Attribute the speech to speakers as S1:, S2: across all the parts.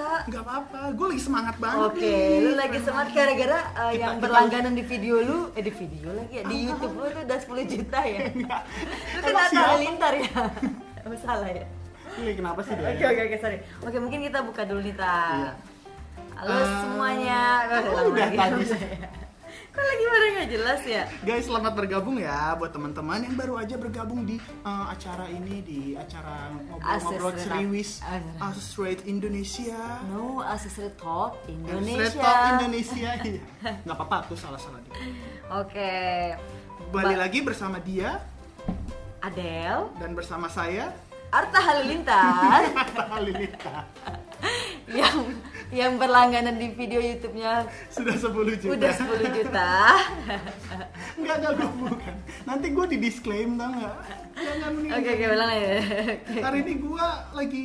S1: apa-apa. Gue lagi semangat banget.
S2: Oke,
S1: nih.
S2: lu lagi semangat gara-gara uh,
S1: Kita- Ah.
S2: yang
S1: kita-
S2: berlangganan di video lu, eh di video lagi ya, di YouTube lu itu udah 10 juta ya. Lu kan
S1: Emang
S2: Atta
S1: siapa?
S2: Halilintar ya. Emang salah ya.
S1: Ih, Iya, kenapa sih dia?
S2: Oke oke oke sorry. Oke mungkin kita buka dulu nih ta.
S1: Iya.
S2: Halo
S1: Eh,
S2: semuanya.
S1: kamu
S2: Ulang
S1: udah kan?
S2: lagi.
S1: tadi.
S2: Kok lagi pada nggak jelas ya?
S1: Guys, selamat bergabung ya buat teman-teman yang baru aja bergabung di eh, acara ini di acara ngobrol-ngobrol
S2: Asis
S1: seriwis
S2: Rera- Asis.
S1: Asus Rate Indonesia.
S2: No accessory talk
S1: Straight
S2: Indonesia.
S1: Talk Indonesia. Iya. Nggak apa-apa, aku salah-salah dikit.
S2: Oke.
S1: Kembali
S2: Ba-
S1: lagi bersama dia
S2: Adele,
S1: dan bersama saya
S2: Arta Halilintar
S1: Halilintar.
S2: yang yang berlangganan di video YouTube-nya
S1: Sudah 10 juta.
S2: udah 10 juta.
S1: Nggak ada gue bukan. Nanti gue di disclaim tau nggak? Jangan nih.
S2: Oke oke ulang lagi.
S1: Hari ini gue lagi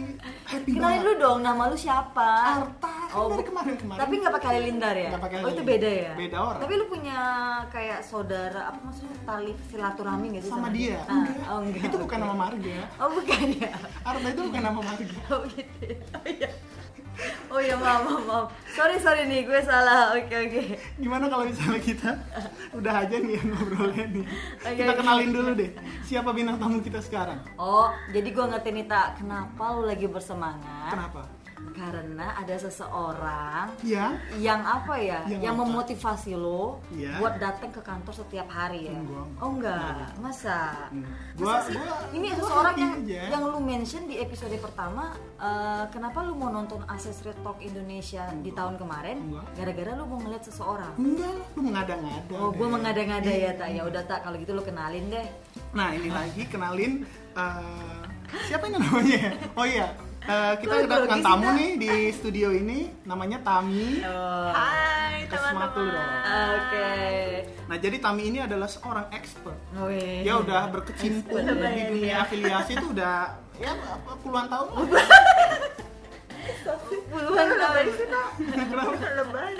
S1: happy
S2: Kenalin lu
S1: banget.
S2: dong nama lu siapa? Oh,
S1: Arta, kan dari kemarin-kemarin.
S2: Tapi nggak pakai halilintar ya?
S1: Nggak pakai
S2: oh itu
S1: halilintar.
S2: beda ya?
S1: Beda orang.
S2: Tapi lu punya kayak saudara apa maksudnya tali silaturahmi nggak sih
S1: sama dia.
S2: Ah,
S1: Enggak.
S2: oh, enggak.
S1: Itu bukan
S2: oke.
S1: nama marga.
S2: Oh bukan ya?
S1: Arta itu bukan nama marga.
S2: Oh gitu. ya. Oh iya. Oh iya maaf maaf maaf. Sorry sorry nih gue salah. Oke oke.
S1: Gimana kalau misalnya kita udah aja nih ngobrolnya nih.
S2: Oke,
S1: Kita
S2: oke.
S1: kenalin dulu deh. Siapa bintang tamu kita sekarang?
S2: Oh jadi gue ngerti nih tak kenapa lu lagi bersemangat?
S1: Kenapa?
S2: Karena ada seseorang
S1: Ya,
S2: yang apa ya
S1: Yang
S2: yang
S1: apa?
S2: memotivasi lo
S1: Iya.
S2: buat datang ke kantor setiap hari ya
S1: Enggak.
S2: oh enggak masa Masa
S1: Enggak. Gua-
S2: sih?
S1: gua-
S2: ini
S1: iya. gua
S2: seseorang
S1: happy
S2: yang
S1: aja.
S2: yang lu mention di episode pertama eh, kenapa lu mau nonton Access Red Talk Indonesia di tahun kemarin
S1: Enggak.
S2: gara-gara lu mau ngeliat seseorang
S1: enggak lah, lu mengada-ngada.
S2: oh gue
S1: deh.
S2: mengada-ngada
S1: Iya.
S2: ya tak ya udah tak kalau gitu lu kenalin deh
S1: Nah, ini lagi kenalin eh, siapa ini namanya? ya? Oh iya, eh, kita
S2: Gua grogi
S1: kedatangan
S2: sih,
S1: tamu
S2: Nak.
S1: nih di studio ini namanya Tami.
S3: Hai
S1: Kesmatu dong.
S2: oke
S1: Nah, jadi Tami ini adalah seorang expert.
S2: Wih.
S1: Dia Ya udah berkecimpung
S3: Expert
S1: di
S3: ya
S1: dunia
S3: dia.
S1: afiliasi itu udah ya puluhan tahun lah.
S2: puluhan tahun
S1: Kenapa?
S3: Lebay.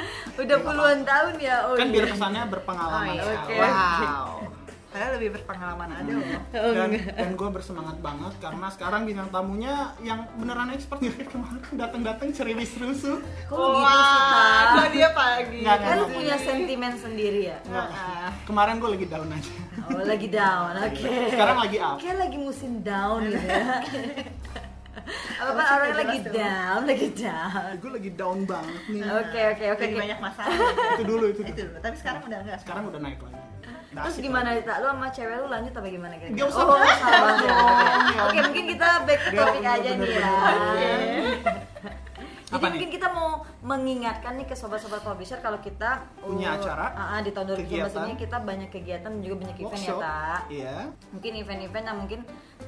S2: udah puluhan tahun ya oh
S1: kan
S2: iya.
S1: biar kesannya berpengalaman
S3: Oh, iya,
S2: oke.
S1: sekali. Wow.
S3: Saya lebih berpengalaman ada
S1: Hmm.
S3: loh.
S2: Oh,
S1: Dan, dan gue bersemangat banget karena sekarang bintang tamunya yang beneran expert nih kemarin datang-datang ceriwis rusuh.
S2: Kok lu gitu sih, Pak?
S3: kok gitu dia pagi.
S1: Nggak,
S2: Kan lu
S1: Kenapa?
S2: punya sentimen sendiri ya?
S1: Nggak, Kemarin gue lagi down aja.
S2: Oh, lagi down, oke.
S1: Sekarang lagi up.
S2: Kayak lagi musim down gitu ya. Apa orang lagi down, lagi down.
S1: gue Eh, lagi down banget nih.
S2: Oke, oke, oke.
S3: Jadi
S2: oke.
S3: Nah, banyak masalah.
S1: Itu dulu itu.
S3: itu
S1: dulu.
S3: dulu. Tapi sekarang udah enggak.
S1: Sekarang udah naik lagi. Udah
S2: Terus
S1: asik
S2: gimana
S1: lagi.
S2: Dita? Lu sama cewek lu lanjut apa gimana kira-kira?
S1: Nggak usah
S2: Oh,
S1: bahas
S2: salah.
S1: dong, ya.
S2: Oke, mungkin kita back to
S1: Biar
S2: topic aja nih ya.
S1: bener-bener.
S2: Jadi
S1: Apa nih?
S2: mungkin kita mau mengingatkan nih ke sobat-sobat publisher kalau kita
S1: Punya
S2: uh,
S1: acara,
S2: ah, ah, di tahun 2019 ini
S1: kegiatan,
S2: kita banyak kegiatan dan juga banyak event ya,
S1: Workshop.
S2: Tak.
S1: Iya.
S2: mungkin event-event yang mungkin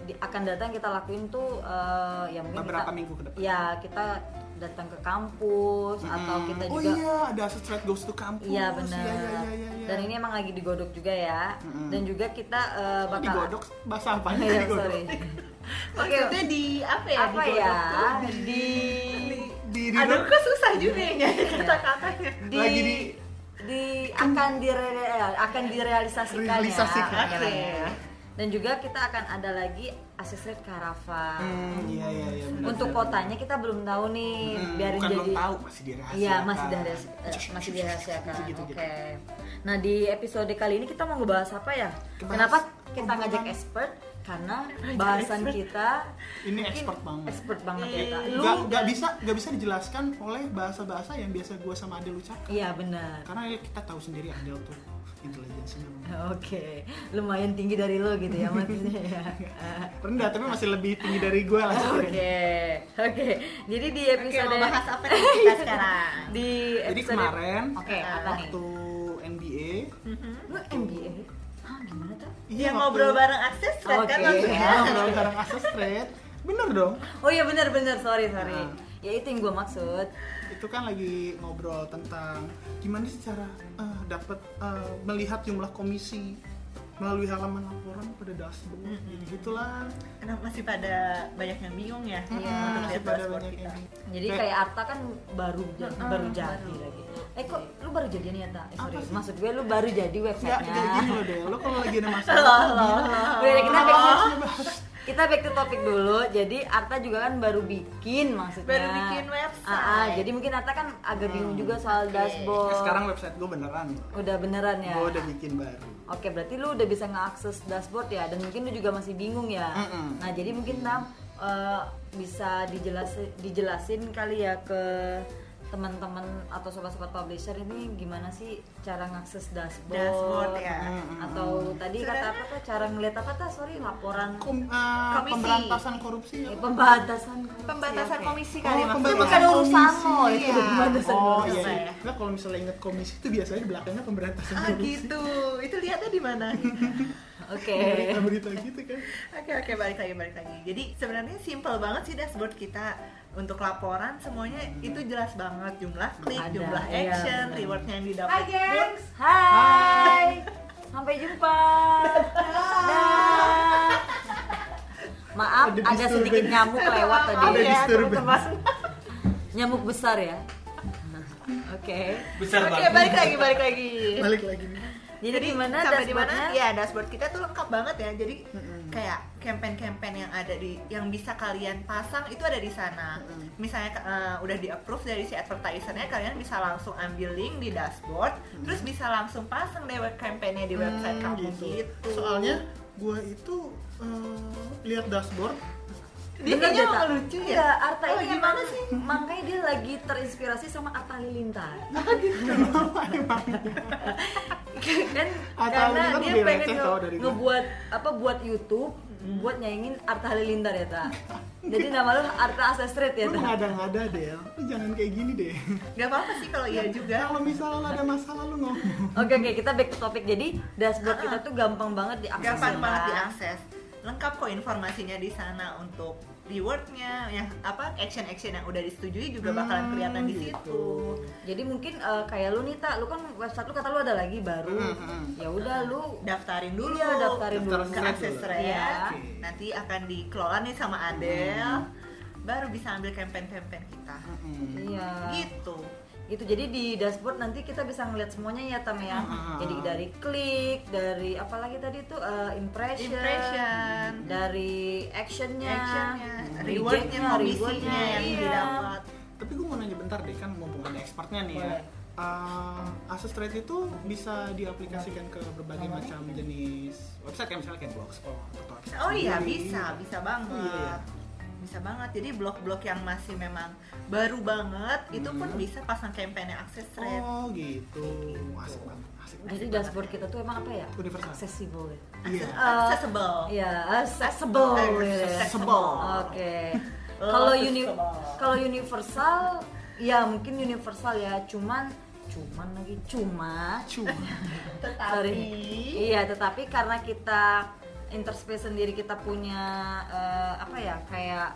S2: di- akan datang kita lakuin tuh eh, ya mungkin
S1: Beberapa
S2: kita-
S1: minggu ke depan.
S2: ya kita datang ke kampus atau
S1: Hmm.
S2: kita
S1: Oh
S2: juga
S1: iya, ada straight goes to campus.
S2: Iya benar.
S1: Iya, iya, iya, iya.
S2: Dan ini emang lagi digodok juga ya.
S1: Mm-mm.
S2: Dan juga kita eh,
S1: Kok
S2: bakal
S1: digodok bahasa apa
S2: Iya,
S1: digodok?
S2: sorry. Oke,
S3: Maksudnya di apa ya?
S2: apa
S3: di
S2: ya?
S3: Di,
S2: Di
S1: Di, di,
S3: Aduh, kok susah juga ya nyari kata-katanya.
S2: di
S1: Lagi di-
S2: di- akan dire akan direalisasikan
S1: Realisasikan.
S2: ya.
S3: Oke.
S2: Dan juga kita akan ada lagi asesret karavan.
S1: Hmm, iya, iya, iya. benar,
S2: Untuk
S1: benar.
S2: kotanya kita belum tahu nih,
S1: Hmm,
S2: biarin
S1: bukan
S2: jadi.
S1: belum tahu masih dirahasiakan.
S2: Iya, masih dirahasi- eh, masih dirahasiakan.
S1: Gitu,
S2: Oke.
S1: gitu.
S2: Nah, di episode kali ini kita mau ngebahas apa ya?
S1: Ngebahas
S2: Kenapa kita
S1: hubungan.
S2: ngajak expert? Karena bahasan kita
S1: Ini
S2: mungkin
S1: expert banget.
S2: Expert banget ya, Kak. Lu
S1: Gak, gak bisa gak bisa dijelaskan oleh bahasa-bahasa yang biasa gue sama Adel ucapkan
S2: Iya, benar.
S1: karena ya kita tahu sendiri Adel tuh intelijensinya
S2: Oke, lumayan tinggi dari lo gitu ya maksudnya ya.
S1: rendah tapi masih lebih tinggi dari gue lah
S2: Oke, oke. Jadi di
S3: Oke,
S2: episode
S3: mau bahas apa nih kita sekarang?
S2: di
S1: jadi
S2: episode
S1: kemarin
S2: Oke, apa nih?
S1: waktu NBA
S2: Lu MBA? Hah, gimana tuh?
S3: Dia
S1: iya waktu-
S3: Iya, ngobrol bareng akses kan
S2: Oke.
S1: Iya,
S3: maksudnya.
S1: ngobrol bareng Asus Trade bener dong
S2: Oh iya benar-benar sorry sorry.
S1: Nah.
S2: Ya itu yang gue maksud.
S1: itu kan lagi ngobrol tentang gimana sih cara eh, dapat eh, melihat jumlah komisi melalui halaman laporan pada dashboard gitu gitulah
S3: Kenapa masih pada banyak yang bingung ya?
S2: Iya.
S3: Untuk
S1: masih
S3: lihat
S1: pada
S3: dashboard
S1: banyak
S3: kita.
S1: yang
S2: Jadi
S1: Kayak-
S2: kayak Arta kan baru ja-
S3: Mm-mm,
S2: baru jadi
S3: baru.
S2: lagi. Eh kok lu baru jadian ya tak? Eh, sorry.
S1: Apa sih?
S2: Maksud gue lu
S1: Ya,
S2: baru jadi
S1: Enggak,
S2: websitenya.
S1: kayak gini loh deh. Lo kalau lagi ada masalah,
S2: Udah kita back
S1: bahas
S2: kita back to topic dulu. Jadi Arta juga kan baru bikin maksudnya.
S3: Baru bikin website.
S2: Ah, ah, jadi mungkin Arta kan agak bingung juga soal
S3: oke.
S1: Nah,
S2: dashboard.
S1: sekarang website gue beneran
S2: udah beneran ya.
S1: gue udah bikin baru
S2: Oke, berarti lu udah bisa ngeakses dashboard ya dan mungkin lu juga masih bingung ya.
S1: Mm-mm.
S2: Nah, jadi mungkin Tam eh, bisa dijelasin dijelasin kali ya ke teman-teman atau sobat-sobat publisher ini gimana sih cara ngakses dashboard,
S3: Dashboard ya.
S1: Mm-mm.
S2: atau tadi kata
S3: Saudara-
S2: apa tuh cara ngeliat apa tuh sorry laporan
S1: Kom- eh,
S3: Komisi.
S1: pemberantasan korupsi
S2: eh,
S1: apa?
S2: pembatasan korupsi,
S3: Pembatasan
S2: oke.
S3: komisi
S1: Oh,
S3: kali
S2: itu
S3: maksudnya.
S2: bukan
S1: pembatasan
S2: urusan
S1: komisi,
S2: lo itu
S3: ya.
S2: pembatasan
S1: oh
S2: korupsi.
S1: iya, iya.
S3: Iya.
S1: Nah, kalau misalnya ingat komisi itu biasanya di belakangnya pemberantasan
S3: Ah
S1: korupsi
S3: gitu. Itu lihatnya di mana?
S2: oke
S1: berita-berita gitu kan
S3: Oke oke balik lagi balik lagi. Jadi sebenarnya simple banget sih dashboard kita untuk laporan semuanya itu jelas banget jumlah klik,
S2: Ada,
S3: jumlah
S2: iya,
S3: action,
S2: benar.
S3: reward yang didapat.
S4: Hai gengs.
S2: hai sampai jumpa Dah. maaf ada
S1: Ada disturbance.
S2: sedikit nyamuk lewat
S3: Maaf
S1: Ada
S2: tadi
S3: ya,
S1: disturbance.
S3: teman-teman.
S2: nyamuk besar ya oke
S5: besar
S3: Oke
S5: banget
S3: balik lagi balik lagi.
S2: Iya.
S1: balik lagi nih
S2: jadi, gimana
S3: sampai di mana?
S2: dashboardnya
S3: Ya dashboard kita tuh lengkap banget ya. Jadi kayak campaign-campaign yang ada di yang bisa kalian pasang itu ada di sana. Misalnya eh, udah di approve dari si advertisernya, kalian bisa langsung ambil link di dashboard, terus bisa langsung pasang deh campaignnya di website
S1: Hmm,
S3: kamu gitu.
S1: soalnya gue itu eh, lihat dashboard
S3: dia
S2: Bener
S3: kayaknya
S2: deh,
S3: mau
S2: Tak?
S3: lucu ya.
S2: Enggak, Iya, Arta
S3: Oh,
S2: ini
S3: gimana
S2: emang-
S3: sih?
S2: Makanya dia lagi terinspirasi sama Atta Halilintar
S1: kenapa emang
S2: kan karena
S1: Atta Halilintar
S2: dia
S1: Ah, lebih
S2: pengen
S1: receh
S2: nge-
S1: tau dari gua.
S2: ngebuat apa buat YouTube buat nyaingin Arta Halilintar ya ta jadi nama lu Arta Asestrit ya
S1: lu
S2: ta
S1: ngada-ngada Del lu jangan kayak gini deh
S3: Gak apa-apa sih kalau iya juga.
S1: kalau misalnya lu ada masalah lu ngomong
S2: Oke oke kita back to topic jadi dashboard kita tuh gampang banget diakses.
S3: Gampang
S2: ya,
S3: banget
S2: Pak.
S3: diakses. Lengkap kok informasinya di sana untuk rewardnya, yang apa action-action yang udah disetujui juga bakalan
S1: Hmm,
S3: kelihatan
S1: Gitu.
S3: di situ.
S2: Jadi mungkin eh, kayak lu nih tak, lu kan website lu kata lu ada lagi baru.
S1: Hmm, hmm.
S2: Ya udah lu
S3: Daftarin Mm, dulu,
S2: Iya, daftarin
S1: dulu.
S3: ke akses
S1: Daftar
S2: dulu. Iya.
S3: Red.
S1: Oke.
S3: Nanti akan dikelola nih sama Adel, baru bisa ambil campaign-campaign kita.
S2: iya.
S3: Gitu.
S2: Gitu. Jadi di dashboard nanti kita bisa ngeliat semuanya ya Tam
S3: Mm,
S2: ya.
S1: Hmm.
S2: Jadi dari klik, dari apa lagi tadi tuh eh, impression,
S3: Impression,
S2: dari actionnya,
S3: actionnya,
S2: rejectnya,
S3: rewardnya, komisinya
S2: Iya. rewardnya,
S3: yang
S2: iya.
S3: didapat.
S1: tapi gue mau nanya bentar deh kan mumpung ada expertnya nih ya
S3: Boleh.
S1: Eh, Asus Trade itu bisa diaplikasikan ke berbagai macam jenis website kayak misalnya kayak blogspot atau Excel
S3: Oh iya
S1: sendiri.
S3: bisa, bisa banget.
S1: Oh, iya.
S3: Bisa banget. Jadi blok-blok yang masih memang baru banget itu pun bisa pasang kampanye akses rate.
S1: oh gitu asik banget asik
S2: Jadi
S1: banget
S2: dashboard kita tuh emang apa ya?
S1: Universal.
S2: Accessible ya.
S1: iya
S3: Accessible.
S2: Ya, accessible. ya.
S1: Accessible.
S2: Oke.
S3: Oh,
S2: Kalau uni
S3: accessible.
S2: kalau universal ya mungkin universal ya, cuman cuman lagi cuma
S1: cuma Eh,
S3: Tetapi
S2: Iya, tetapi karena kita interspace sendiri kita punya eh, apa ya? kayak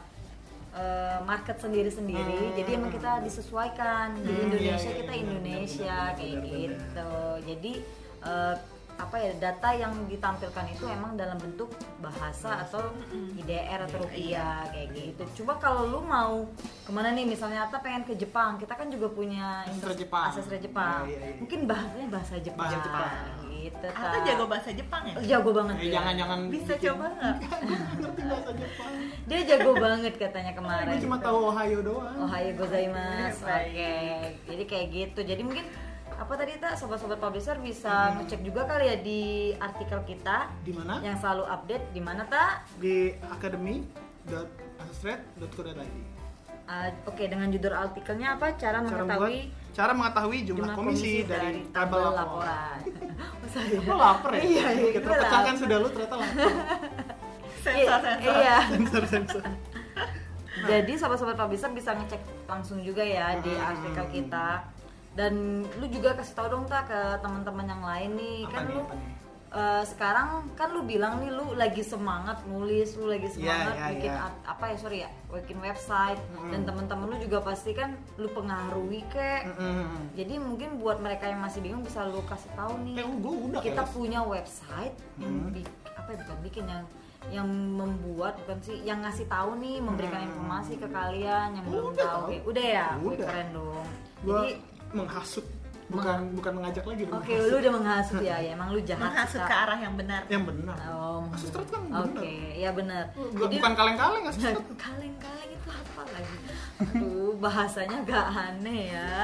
S2: eh, market sendiri-sendiri.
S1: Hmm.
S2: Jadi emang kita disesuaikan. Di
S1: Hmm,
S2: Indonesia
S1: iya, iya,
S2: kita
S1: iya,
S2: Indonesia
S1: benar, benar,
S2: kayak
S1: benar, benar.
S2: gitu. Jadi eh, apa ya data yang ditampilkan itu emang dalam bentuk bahasa atau
S1: Hmm.
S2: IDR
S1: Iya,
S2: atau rupiah kayak gitu. Coba kalau lu mau kemana nih misalnya Ata pengen ke Jepang, kita kan juga punya
S1: Sastra
S2: inter-
S1: Jepang.
S2: sastra Jepang.
S1: Iya, iya, iya.
S2: Mungkin bahasanya bahasa Jepang.
S1: Bahasa Jepang.
S2: Gitu.
S3: Atau
S2: Ta.
S3: jago bahasa Jepang ya?
S2: Oh, jago banget
S1: eh,
S2: dia.
S1: jangan jangan Kan
S3: Bisa coba nggak?
S1: ngerti bahasa Jepang
S2: Dia jago banget katanya kemarin.
S1: gue cuma tahu Ohio doang
S2: Ohayo gozaimasu. Oke.
S3: Baik.
S2: Jadi kayak gitu. Jadi mungkin apa tadi tak sobat-sobat publisher bisa
S1: Hmm.
S2: ngecek juga kali ya di artikel kita
S1: di mana
S3: Ya.
S2: yang selalu update di mana tak?
S1: di academy.asosred.co.id
S2: Ah, Oke dengan judul artikelnya apa? Cara,
S1: cara membuat
S2: mengetahui
S1: cara mengetahui jumlah, komisi, dari, tabel laporan.
S2: Oh, saya-
S1: Lo lapar ya?
S2: Iya, iya,
S1: Kita
S2: gue
S1: pecahkan sudah lo ternyata lapar.
S3: Sensor sensor.
S2: Iya.
S1: sensor sensor.
S2: Jadi sobat-sobat publisher bisa ngecek langsung juga ya di
S1: Nah. Hmm.
S2: artikel kita. Dan lu juga kasih tahu dong tak ke teman-teman yang lain nih
S1: Apa
S2: kan
S1: nih,
S2: lu
S1: apa nih?
S2: eh, sekarang kan lu bilang nih lu lagi semangat nulis, lu lagi semangat
S1: Iya, iya,
S2: bikin
S1: iya. Hmm.
S2: art- apa ya sorry ya, bikin website dan teman-teman lu juga pasti kan lu pengaruhi kek.
S1: Mm-mm.
S2: Jadi mungkin buat mereka yang masih bingung bisa lu kasih tahu nih.
S1: Eh, gue udah
S2: kita
S1: kayak-
S2: punya website yang bi- apa ya, bukan bikin yang yang membuat bukan sih yang ngasih tahu nih memberikan informasi ke kalian yang belum
S1: Udah
S2: tahu.
S1: tahu.
S2: Kayak, Udah ya, Wih,
S1: Udah.
S2: keren dong.
S1: Gua
S2: Jadi
S1: menghasut bukan bukan mengajak lagi udah
S2: Oke,
S1: menghasut.
S2: lu udah menghasut ya, ya emang lu jahat.
S3: menghasut ke
S2: Kak.
S3: arah yang benar
S1: yang benar
S2: Oh,
S1: Asus
S2: menghasut.
S1: Trot kan
S2: Oke,
S1: benar
S2: ya benar.
S1: Bukan- bukan kaleng-kaleng Asus
S2: Nah.
S1: Trot
S2: kaleng-kaleng itu apa lagi? Aduh, bahasanya agak aneh ya.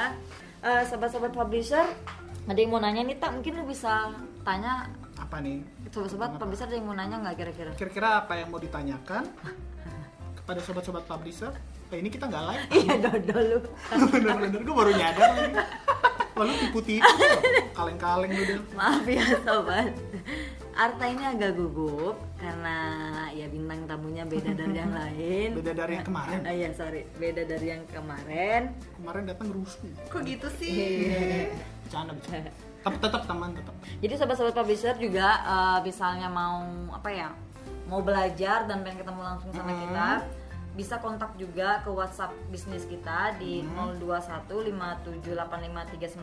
S2: Eh, sahabat-sahabat publisher, ada yang mau nanya nih tak? Mungkin lu bisa tanya
S1: apa nih
S2: sobat-sobat publisher ada yang mau nanya nggak kira-kira?
S1: kira-kira apa yang mau ditanyakan kepada sobat-sobat publisher eh, ini kita nggak live
S2: Iya dodol lu.
S1: bener-bener gue baru nyadar lagi lalu tipu-tipu loh. kaleng-kaleng lu Del.
S2: Maaf ya sobat. Arta ini agak gugup karena ya bintang tamunya beda dari yang lain.
S1: beda dari yang kemarin
S2: Ah ya sorry, beda dari yang kemarin.
S1: kemarin datang rusuh
S3: kok gitu
S2: Iya.
S3: sih
S1: bercanda bercanda tapi tetap teman tetap
S2: Jadi sobat-sobat publisher juga eh, misalnya mau apa ya, mau belajar dan pengen ketemu langsung sama
S1: Hmm.
S2: kita, bisa kontak juga ke WhatsApp bisnis kita di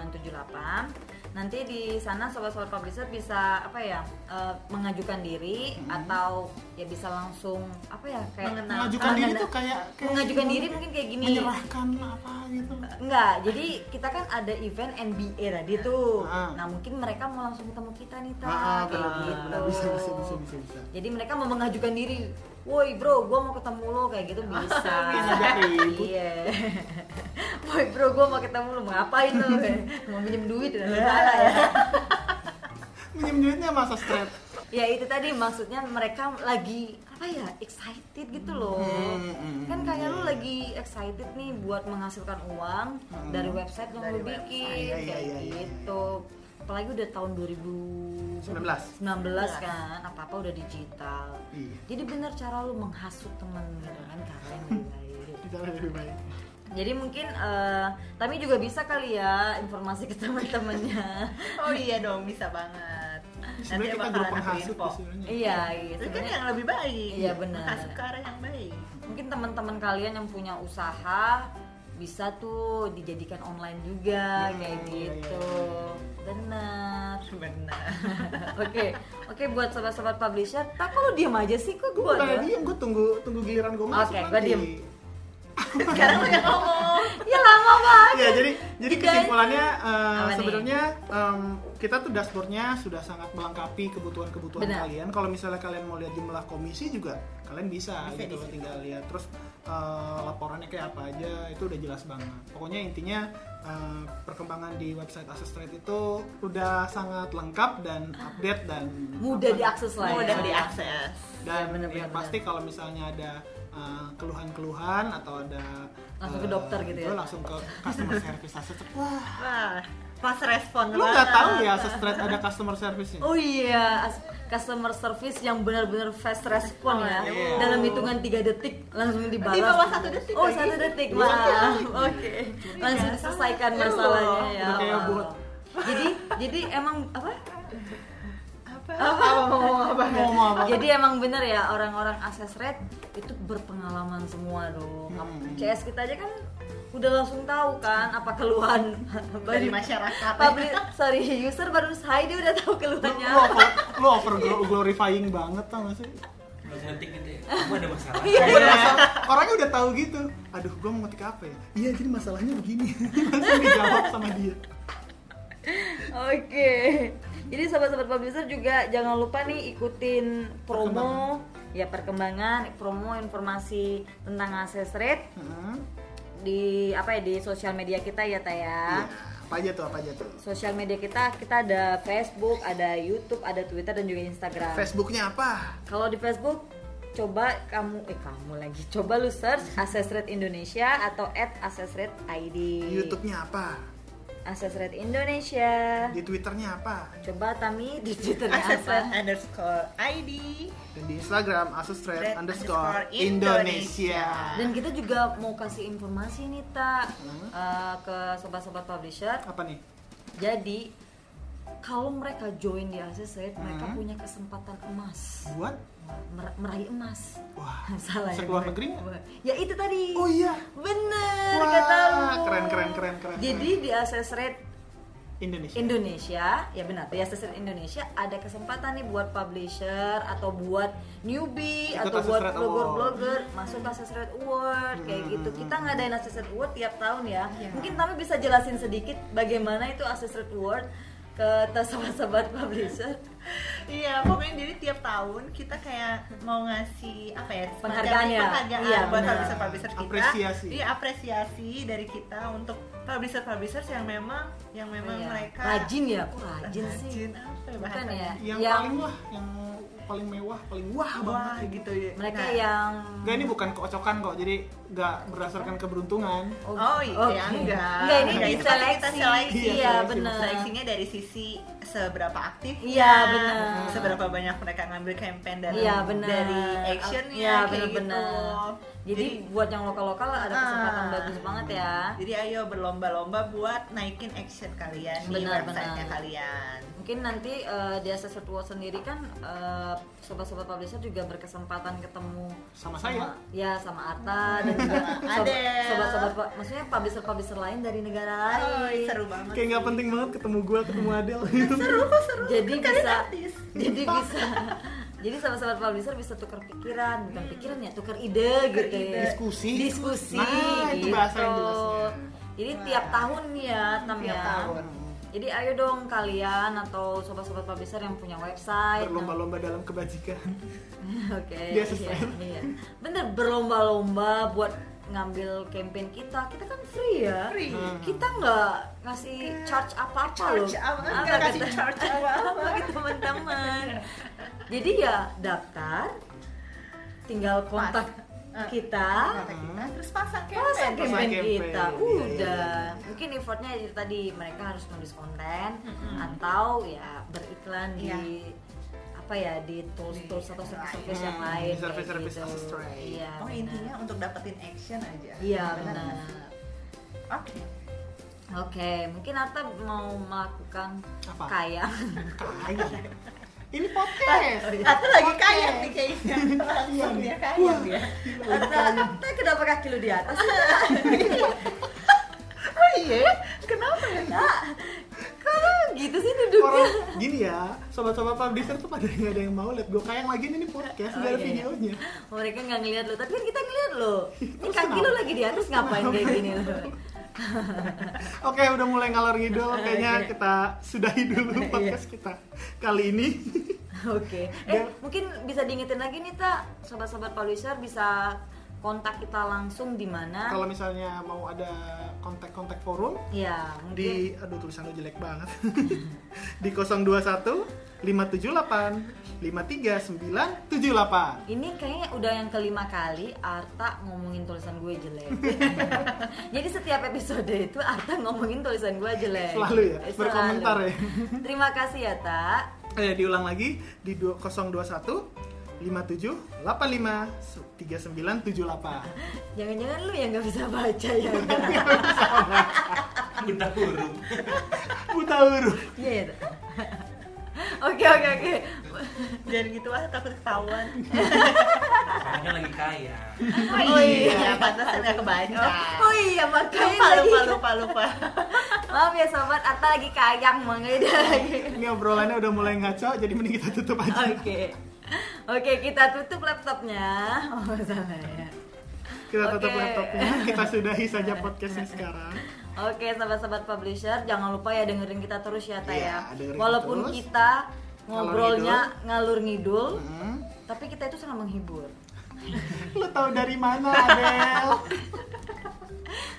S2: 0215785398. Nanti di sana sobat-sobat publisher bisa apa ya eh, mengajukan diri atau ya bisa langsung apa ya kayak
S3: Mengenal.
S1: mengajukan
S2: Ah,
S1: diri
S2: nggak-
S1: tuh kan- kayak, kayak
S2: mengajukan
S1: gimana? ya?
S2: diri mungkin kayak gini. Ah,
S1: menyerahkan apa gitu
S2: Enggak, jadi kita kan ada event NBA tadi tuh.
S1: Ah.
S2: Nah, mungkin mereka mau langsung ketemu kita nih, Ta.
S1: Ah,
S2: kayak
S1: benar, benar, benar.
S2: gitu.
S1: Bisa, bisa, bisa, bisa, bisa.
S2: Jadi mereka mau mengajukan diri. Woi, bro, gua mau ketemu lo kayak gitu bisa.
S1: Kayak ngajak ribut.
S2: Iya. Woi, bro, gua mau ketemu lo. Mau ngapain lo? mau minjem duit dan segala
S1: Iya.
S2: ya.
S1: minjem duitnya masa strep
S2: Ya itu tadi maksudnya mereka lagi apa ya excited gitu loh.
S1: Hmm, hmm,
S2: kan kayak
S1: hmm,
S2: lu
S1: iya.
S2: lagi excited nih buat menghasilkan uang
S1: Hmm.
S2: dari website yang
S3: Dari
S2: lu
S3: website,
S2: bikin
S1: iya, iya,
S2: kayak
S1: iya, iya.
S2: gitu. Apalagi udah tahun
S1: 19.
S2: 2019 kan, apa-apa udah digital.
S1: Iya.
S2: Jadi bener cara lu menghasut temen gitu kan kalian lebih baik.
S1: kita lebih baik
S2: Jadi mungkin eh tapi juga bisa kali ya informasi ke teman-temannya.
S3: oh iya dong bisa banget nanti
S1: sebenarnya kita
S3: bakalan
S1: grup
S3: aku
S1: penghasut
S3: info
S1: sih sebenarnya
S2: iya, iya.
S3: itu kan
S2: sebenarnya-
S3: yang lebih baik
S2: Iya, benar.
S3: menghasut ke arah yang baik
S2: mungkin teman-teman kalian yang punya usaha bisa tuh dijadikan online juga
S1: Hmm,
S2: kayak
S1: iya, iya,
S2: gitu benar
S3: benar
S2: oke oke buat sobat-sobat publisher tak kok lu diem aja sih kok
S1: gue
S2: gue
S1: udah diem gue tunggu tunggu giliran gue masuk
S2: Oke,
S1: nanti
S2: gua diem.
S3: sekarang lo yang ngomong
S2: ya lama banget
S1: ya jadi jadi
S2: Guys.
S1: kesimpulannya eh,
S2: nih?
S1: sebenarnya em, kita tuh dashboardnya sudah sangat melengkapi kebutuhan-kebutuhan
S2: Benar.
S1: kalian kalau misalnya kalian mau lihat jumlah komisi juga kalian bisa,
S3: Bisa
S1: gitu
S3: di
S1: loh, tinggal lihat terus eh, laporannya kayak apa aja itu udah jelas banget pokoknya intinya eh, perkembangan di website Access Trade itu udah sangat lengkap dan update dan
S2: Mudah
S1: apa-
S2: diakses lah ya.
S3: mudah diakses
S1: dan
S2: Ya, bener-bener,
S1: yang
S2: bener.
S1: pasti kalau misalnya ada uh, keluhan-keluhan atau ada
S2: Langsung
S1: uh,
S2: ke dokter gitu ya?
S1: itu langsung ke customer service Asus Trade. wah
S3: wah pas respon
S1: lu nggak
S3: banget.
S1: tahu ya Asus Trade ada customer service nya
S2: oh iya as- customer service yang benar-benar fast respon ya
S1: Iya.
S2: dalam hitungan 3 detik langsung dibalas
S3: Di bawah satu detik
S2: oh
S3: gitu. lagi.
S2: satu detik
S1: Iya.
S2: wah oke langsung diselesaikan
S3: Iya.
S2: masalahnya ya
S1: Udah kayak
S2: wow.
S1: bot.
S2: jadi jadi emang apa
S3: apa
S2: apa mau ngomong apa
S1: Mau ngomong apa?
S2: jadi emang bener ya orang-orang akses red itu berpengalaman semua dong
S1: Hmm.
S2: CS kita aja kan udah langsung tahu kan apa keluhan
S3: dari masyarakat
S2: public sorry user baru saya dia udah tahu
S1: lu,
S2: keluhannya
S1: lu over lu over glo- glorifying banget tau gak sih
S4: Romantik gitu ya. Kamu ada masalah.
S2: Iya.
S1: Gua udah masa- orangnya udah tahu gitu aduh gua mau ngetik apa ya iya jadi masalahnya begini langsung dijawab sama dia
S2: Oke. Jadi sahabat-sahabat publisher juga jangan lupa nih ikutin promo ya perkembangan promo informasi tentang akses rate
S1: Heeh.
S2: di apa ya di sosial media kita ya Taya.
S1: Iya. apa aja tuh apa aja tuh
S2: sosial media kita kita ada Facebook, ada YouTube, ada Twitter dan juga Instagram.
S1: Facebooknya apa
S2: Kalau di Facebook coba kamu eh kamu lagi coba lu search Access Rate Indonesia atau at Access Rate ID.
S1: YouTube-nya apa
S2: Access Rate Indonesia.
S1: di Twitternya apa
S2: Coba Tami di Twitter
S3: akses
S2: apa?
S3: underscore ID
S1: dan di Instagram Asus Trade
S3: Trade
S1: underscore
S3: underscore
S1: Indonesia.
S2: Dan kita juga mau kasih informasi nih tak
S1: Hmm.
S2: eh, ke sobat-sobat publisher.
S1: Apa nih?
S2: Jadi kalau mereka join di Access Rate, mereka
S1: Hmm.
S2: punya kesempatan emas
S1: Buat?
S2: Mer- meraih emas.
S1: Wah,
S2: salah
S1: bisa
S2: ya,
S1: keluar
S2: Bang?
S1: negeri nggak?
S2: ya itu tadi
S1: Oh iya.
S2: bener
S1: Wah,
S2: kata lu
S1: keren, keren, keren, keren,
S2: jadi di access rate
S1: Indonesia.
S2: Indonesia, ya benar, Assessment Indonesia ada kesempatan nih buat publisher atau buat newbie
S1: Ikut
S2: atau buat
S1: Assessment Award.
S2: blogger-blogger masuk Assessment Award kayak
S1: Hmm.
S2: gitu. Kita ngadain Assessment Award tiap tahun ya.
S3: Iya.
S2: Mungkin Tami bisa jelasin sedikit bagaimana itu Assessment Award ke te- sobat-sobat publisher.
S3: Iya, pokoknya jadi tiap tahun kita kayak mau ngasih apa ya semacam
S2: Penghargaan ya?
S3: penghargaan
S2: Iya,
S3: buat
S2: benar.
S3: publisher publisher kita.
S1: Apresiasi.
S3: Iya apresiasi dari kita untuk publisher publisher yang memang yang memang
S2: Iya.
S3: mereka
S2: rajin ya, Kok rajin, sih.
S3: Rajin apa ya
S2: Bukan
S3: bahasanya?
S2: ya?
S1: Yang,
S2: Yang-
S1: paling wah, yang paling mewah, paling wah, Ah,
S3: Wah
S1: banget.
S3: gitu ya.
S2: Mereka
S3: Nah,
S2: yang
S1: Enggak ini bukan keocokan kok, jadi nggak berdasarkan keberuntungan.
S3: Oh iya,
S2: oke.
S3: enggak.
S2: Enggak ini
S3: Enggak, itu pasti kita
S2: diseleksi.
S3: seleksi.
S2: Iya,
S1: Seleksi.
S2: benar.
S3: seleksinya dari sisi seberapa aktif
S2: Iya, benar.
S3: seberapa banyak mereka ngambil campaign dari
S2: Iya, benar.
S3: dari actionnya
S2: Iya,
S3: kayak
S2: benar-benar.
S3: gitu
S2: Jadi, buat yang lokal-lokal ada kesempatan
S3: Ah.
S2: bagus banget ya.
S3: jadi ayo berlomba-lomba buat naikin action kalian di
S2: Benar,
S3: websitenya
S2: benar.
S3: kalian
S2: Mungkin nanti eh, di Assessor World sendiri kan eh, sobat-sobat publisher juga berkesempatan ketemu
S1: Sama saya.
S2: ya sama Arta dan juga
S3: Sama
S2: sob-
S3: Adele.
S2: sobat-sobat pu- maksudnya publisher-publisher lain dari negara
S3: Oi,
S2: lain.
S3: seru banget
S1: Kayak nggak penting banget ketemu gue, ketemu Adele. gitu.
S2: jadi
S3: Kan kalian
S2: bisa
S3: artis.
S2: jadi bisa jadi sobat-sobat publisher bisa tukar pikiran bukan pikiran ya tukar ide
S3: Hmm. Tukar
S2: gitu
S3: ide.
S2: ya.
S1: Diskusi.
S2: diskusi
S1: Nah, itu bahasa Nah. yang
S2: gitu.
S1: jelasnya.
S2: jadi
S3: Wah.
S2: tiap tahun nih ya Tam
S3: Tiap
S2: ya.
S3: tahun.
S2: jadi ayo dong kalian atau sobat-sobat publisher yang punya website
S1: Berlomba-lomba dalam kebajikan.
S2: Oke.
S1: Dia
S2: iya,
S1: subscribe.
S2: iya. Bener berlomba-lomba buat ngambil campaign kita. Kita kan free ya.
S3: Free.
S1: Hmm.
S2: Kita nggak ngasih charge apa-apa loh.
S3: Iya. Charge apa? Kan Nggak kasih
S2: kata-
S3: charge apa-apa.
S2: bagi gitu, teman-teman.
S1: Iya.
S2: Jadi ya daftar tinggal kontak
S3: Eh,
S2: kita.
S3: Mata kita terus pasang
S2: Masa
S3: campaign
S1: Pasang
S2: campaign
S1: Ah. campaign,
S2: kita
S1: iya, iya,
S2: udah mungkin effortnya itu tadi mereka harus nulis konten atau ya beriklan
S1: Iya.
S2: di apa ya di tools tools atau service-service yang
S1: Hmm,
S2: lain
S1: di service-service Astride.
S2: iya
S3: oh
S2: benar.
S3: intinya untuk dapetin action aja
S2: iya
S3: Benar
S2: benar
S3: nggak? oke
S2: oke mungkin Atta mau melakukan
S1: Apa?
S2: kaya
S1: Kaya. Ini
S2: Eh,
S1: podcast.
S3: Atau lagi kaya nih kayaknya
S1: Iya,
S3: langsung dia kaya dia
S2: Atta kenapa kaki lu di atas
S3: oh iya kenapa ya
S2: Kok gitu sih duduknya
S1: Orang gini ya, sobat-sobat publisher tuh pada nggak ada yang mau lihat gue kayak lagi ini podcast,
S2: Oh,
S1: nggak ada
S2: iya, iya.
S1: videonya.
S2: mereka nggak ngeliat lo tapi kan kita ngeliat lo ini
S1: Terus
S2: kaki lu
S1: kenapa?
S2: lagi di atas ngapain kayak gini lo
S1: Oke, udah mulai ngalor
S2: Oh,
S1: ngidul,
S2: iya.
S1: kayaknya kita sudahi dulu podcast kita kali ini.
S2: Oke. Eh,
S1: Dan-
S2: mungkin bisa diingetin lagi nih, Ta. Sobat-sobat publisher bisa kontak kita langsung di mana?
S1: Kalau misalnya mau ada kontak-kontak forum,
S2: Ya, mungkin
S1: di aduh tulisan lu jelek banget di 021 578 539 78
S2: ini kayaknya udah yang kelima kali Arta ngomongin tulisan gue jelek. Jadi setiap episode itu Arta ngomongin tulisan gue jelek.
S1: Selalu ya?
S2: Eh,
S1: Berkomentar ya?
S2: Terima kasih ya, Tak.
S1: eh diulang lagi di du- 021 57 85 39 78
S2: Jangan-jangan lu yang nggak bisa baca ya.
S4: Minta huruf.
S1: buta huruf
S2: Iya ya. Ta? Oke, oke, oke.
S3: jangan gitu ah takut ketahuan
S4: Soalnya kan lagi kaya.
S3: Oh iya, pantasan nggak kebaca.
S2: Oh iya, makanya
S3: lupa,
S2: lagi.
S3: lupa, lupa, lupa.
S2: Maaf ya sobat, Atta lagi kayang makanya dia lagi.
S1: ini obrolannya udah mulai ngaco jadi mending kita tutup aja
S3: Oh,
S2: Oke. Oke, kita tutup laptopnya. Oh, salah ya.
S1: kita tutup
S2: Oke.
S1: laptopnya kita sudahi saja podcastnya sekarang
S2: Oke, sahabat-sahabat publisher, jangan lupa ya dengerin kita terus ya, Taya.
S1: Iya, dengerin
S2: Walaupun
S1: terus.
S2: kita ngobrolnya ngalur ngidul,
S1: hmm.
S2: tapi kita itu sangat menghibur.
S1: lu tahu dari mana Adel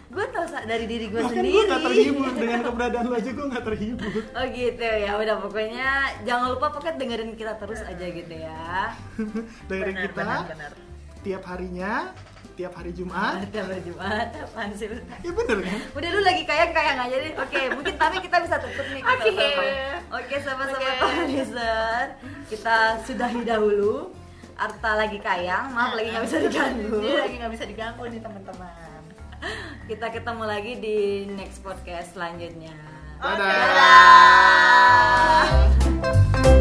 S2: Gue tau sa- dari diri gue
S1: bahkan
S2: sendiri.
S1: gue gak kan terhibur dengan keberadaan lu aja gue gak terhibur
S2: Oh gitu ya, udah pokoknya jangan lupa pokoknya dengerin kita terus aja gitu ya.
S1: dengerin
S3: Benar,
S1: kita
S3: benar, benar.
S1: tiap harinya tiap hari Jumat
S2: Tiap hari Jumat, apaan sih lu?
S1: ya bener kan
S2: Udah lu lagi kayang kayang aja deh. Oke, mungkin tapi kita bisa tutup nih. kita
S3: Oke.
S2: tutup. Oke, sama-sama
S3: Oke.
S2: publisher. Kita sudahi dahulu. Arta lagi kayang, maaf lagi nggak bisa diganggu.
S3: Dia lagi nggak bisa diganggu nih teman-teman.
S2: Kita ketemu lagi di next podcast selanjutnya.
S1: Dadah.
S3: Dadah.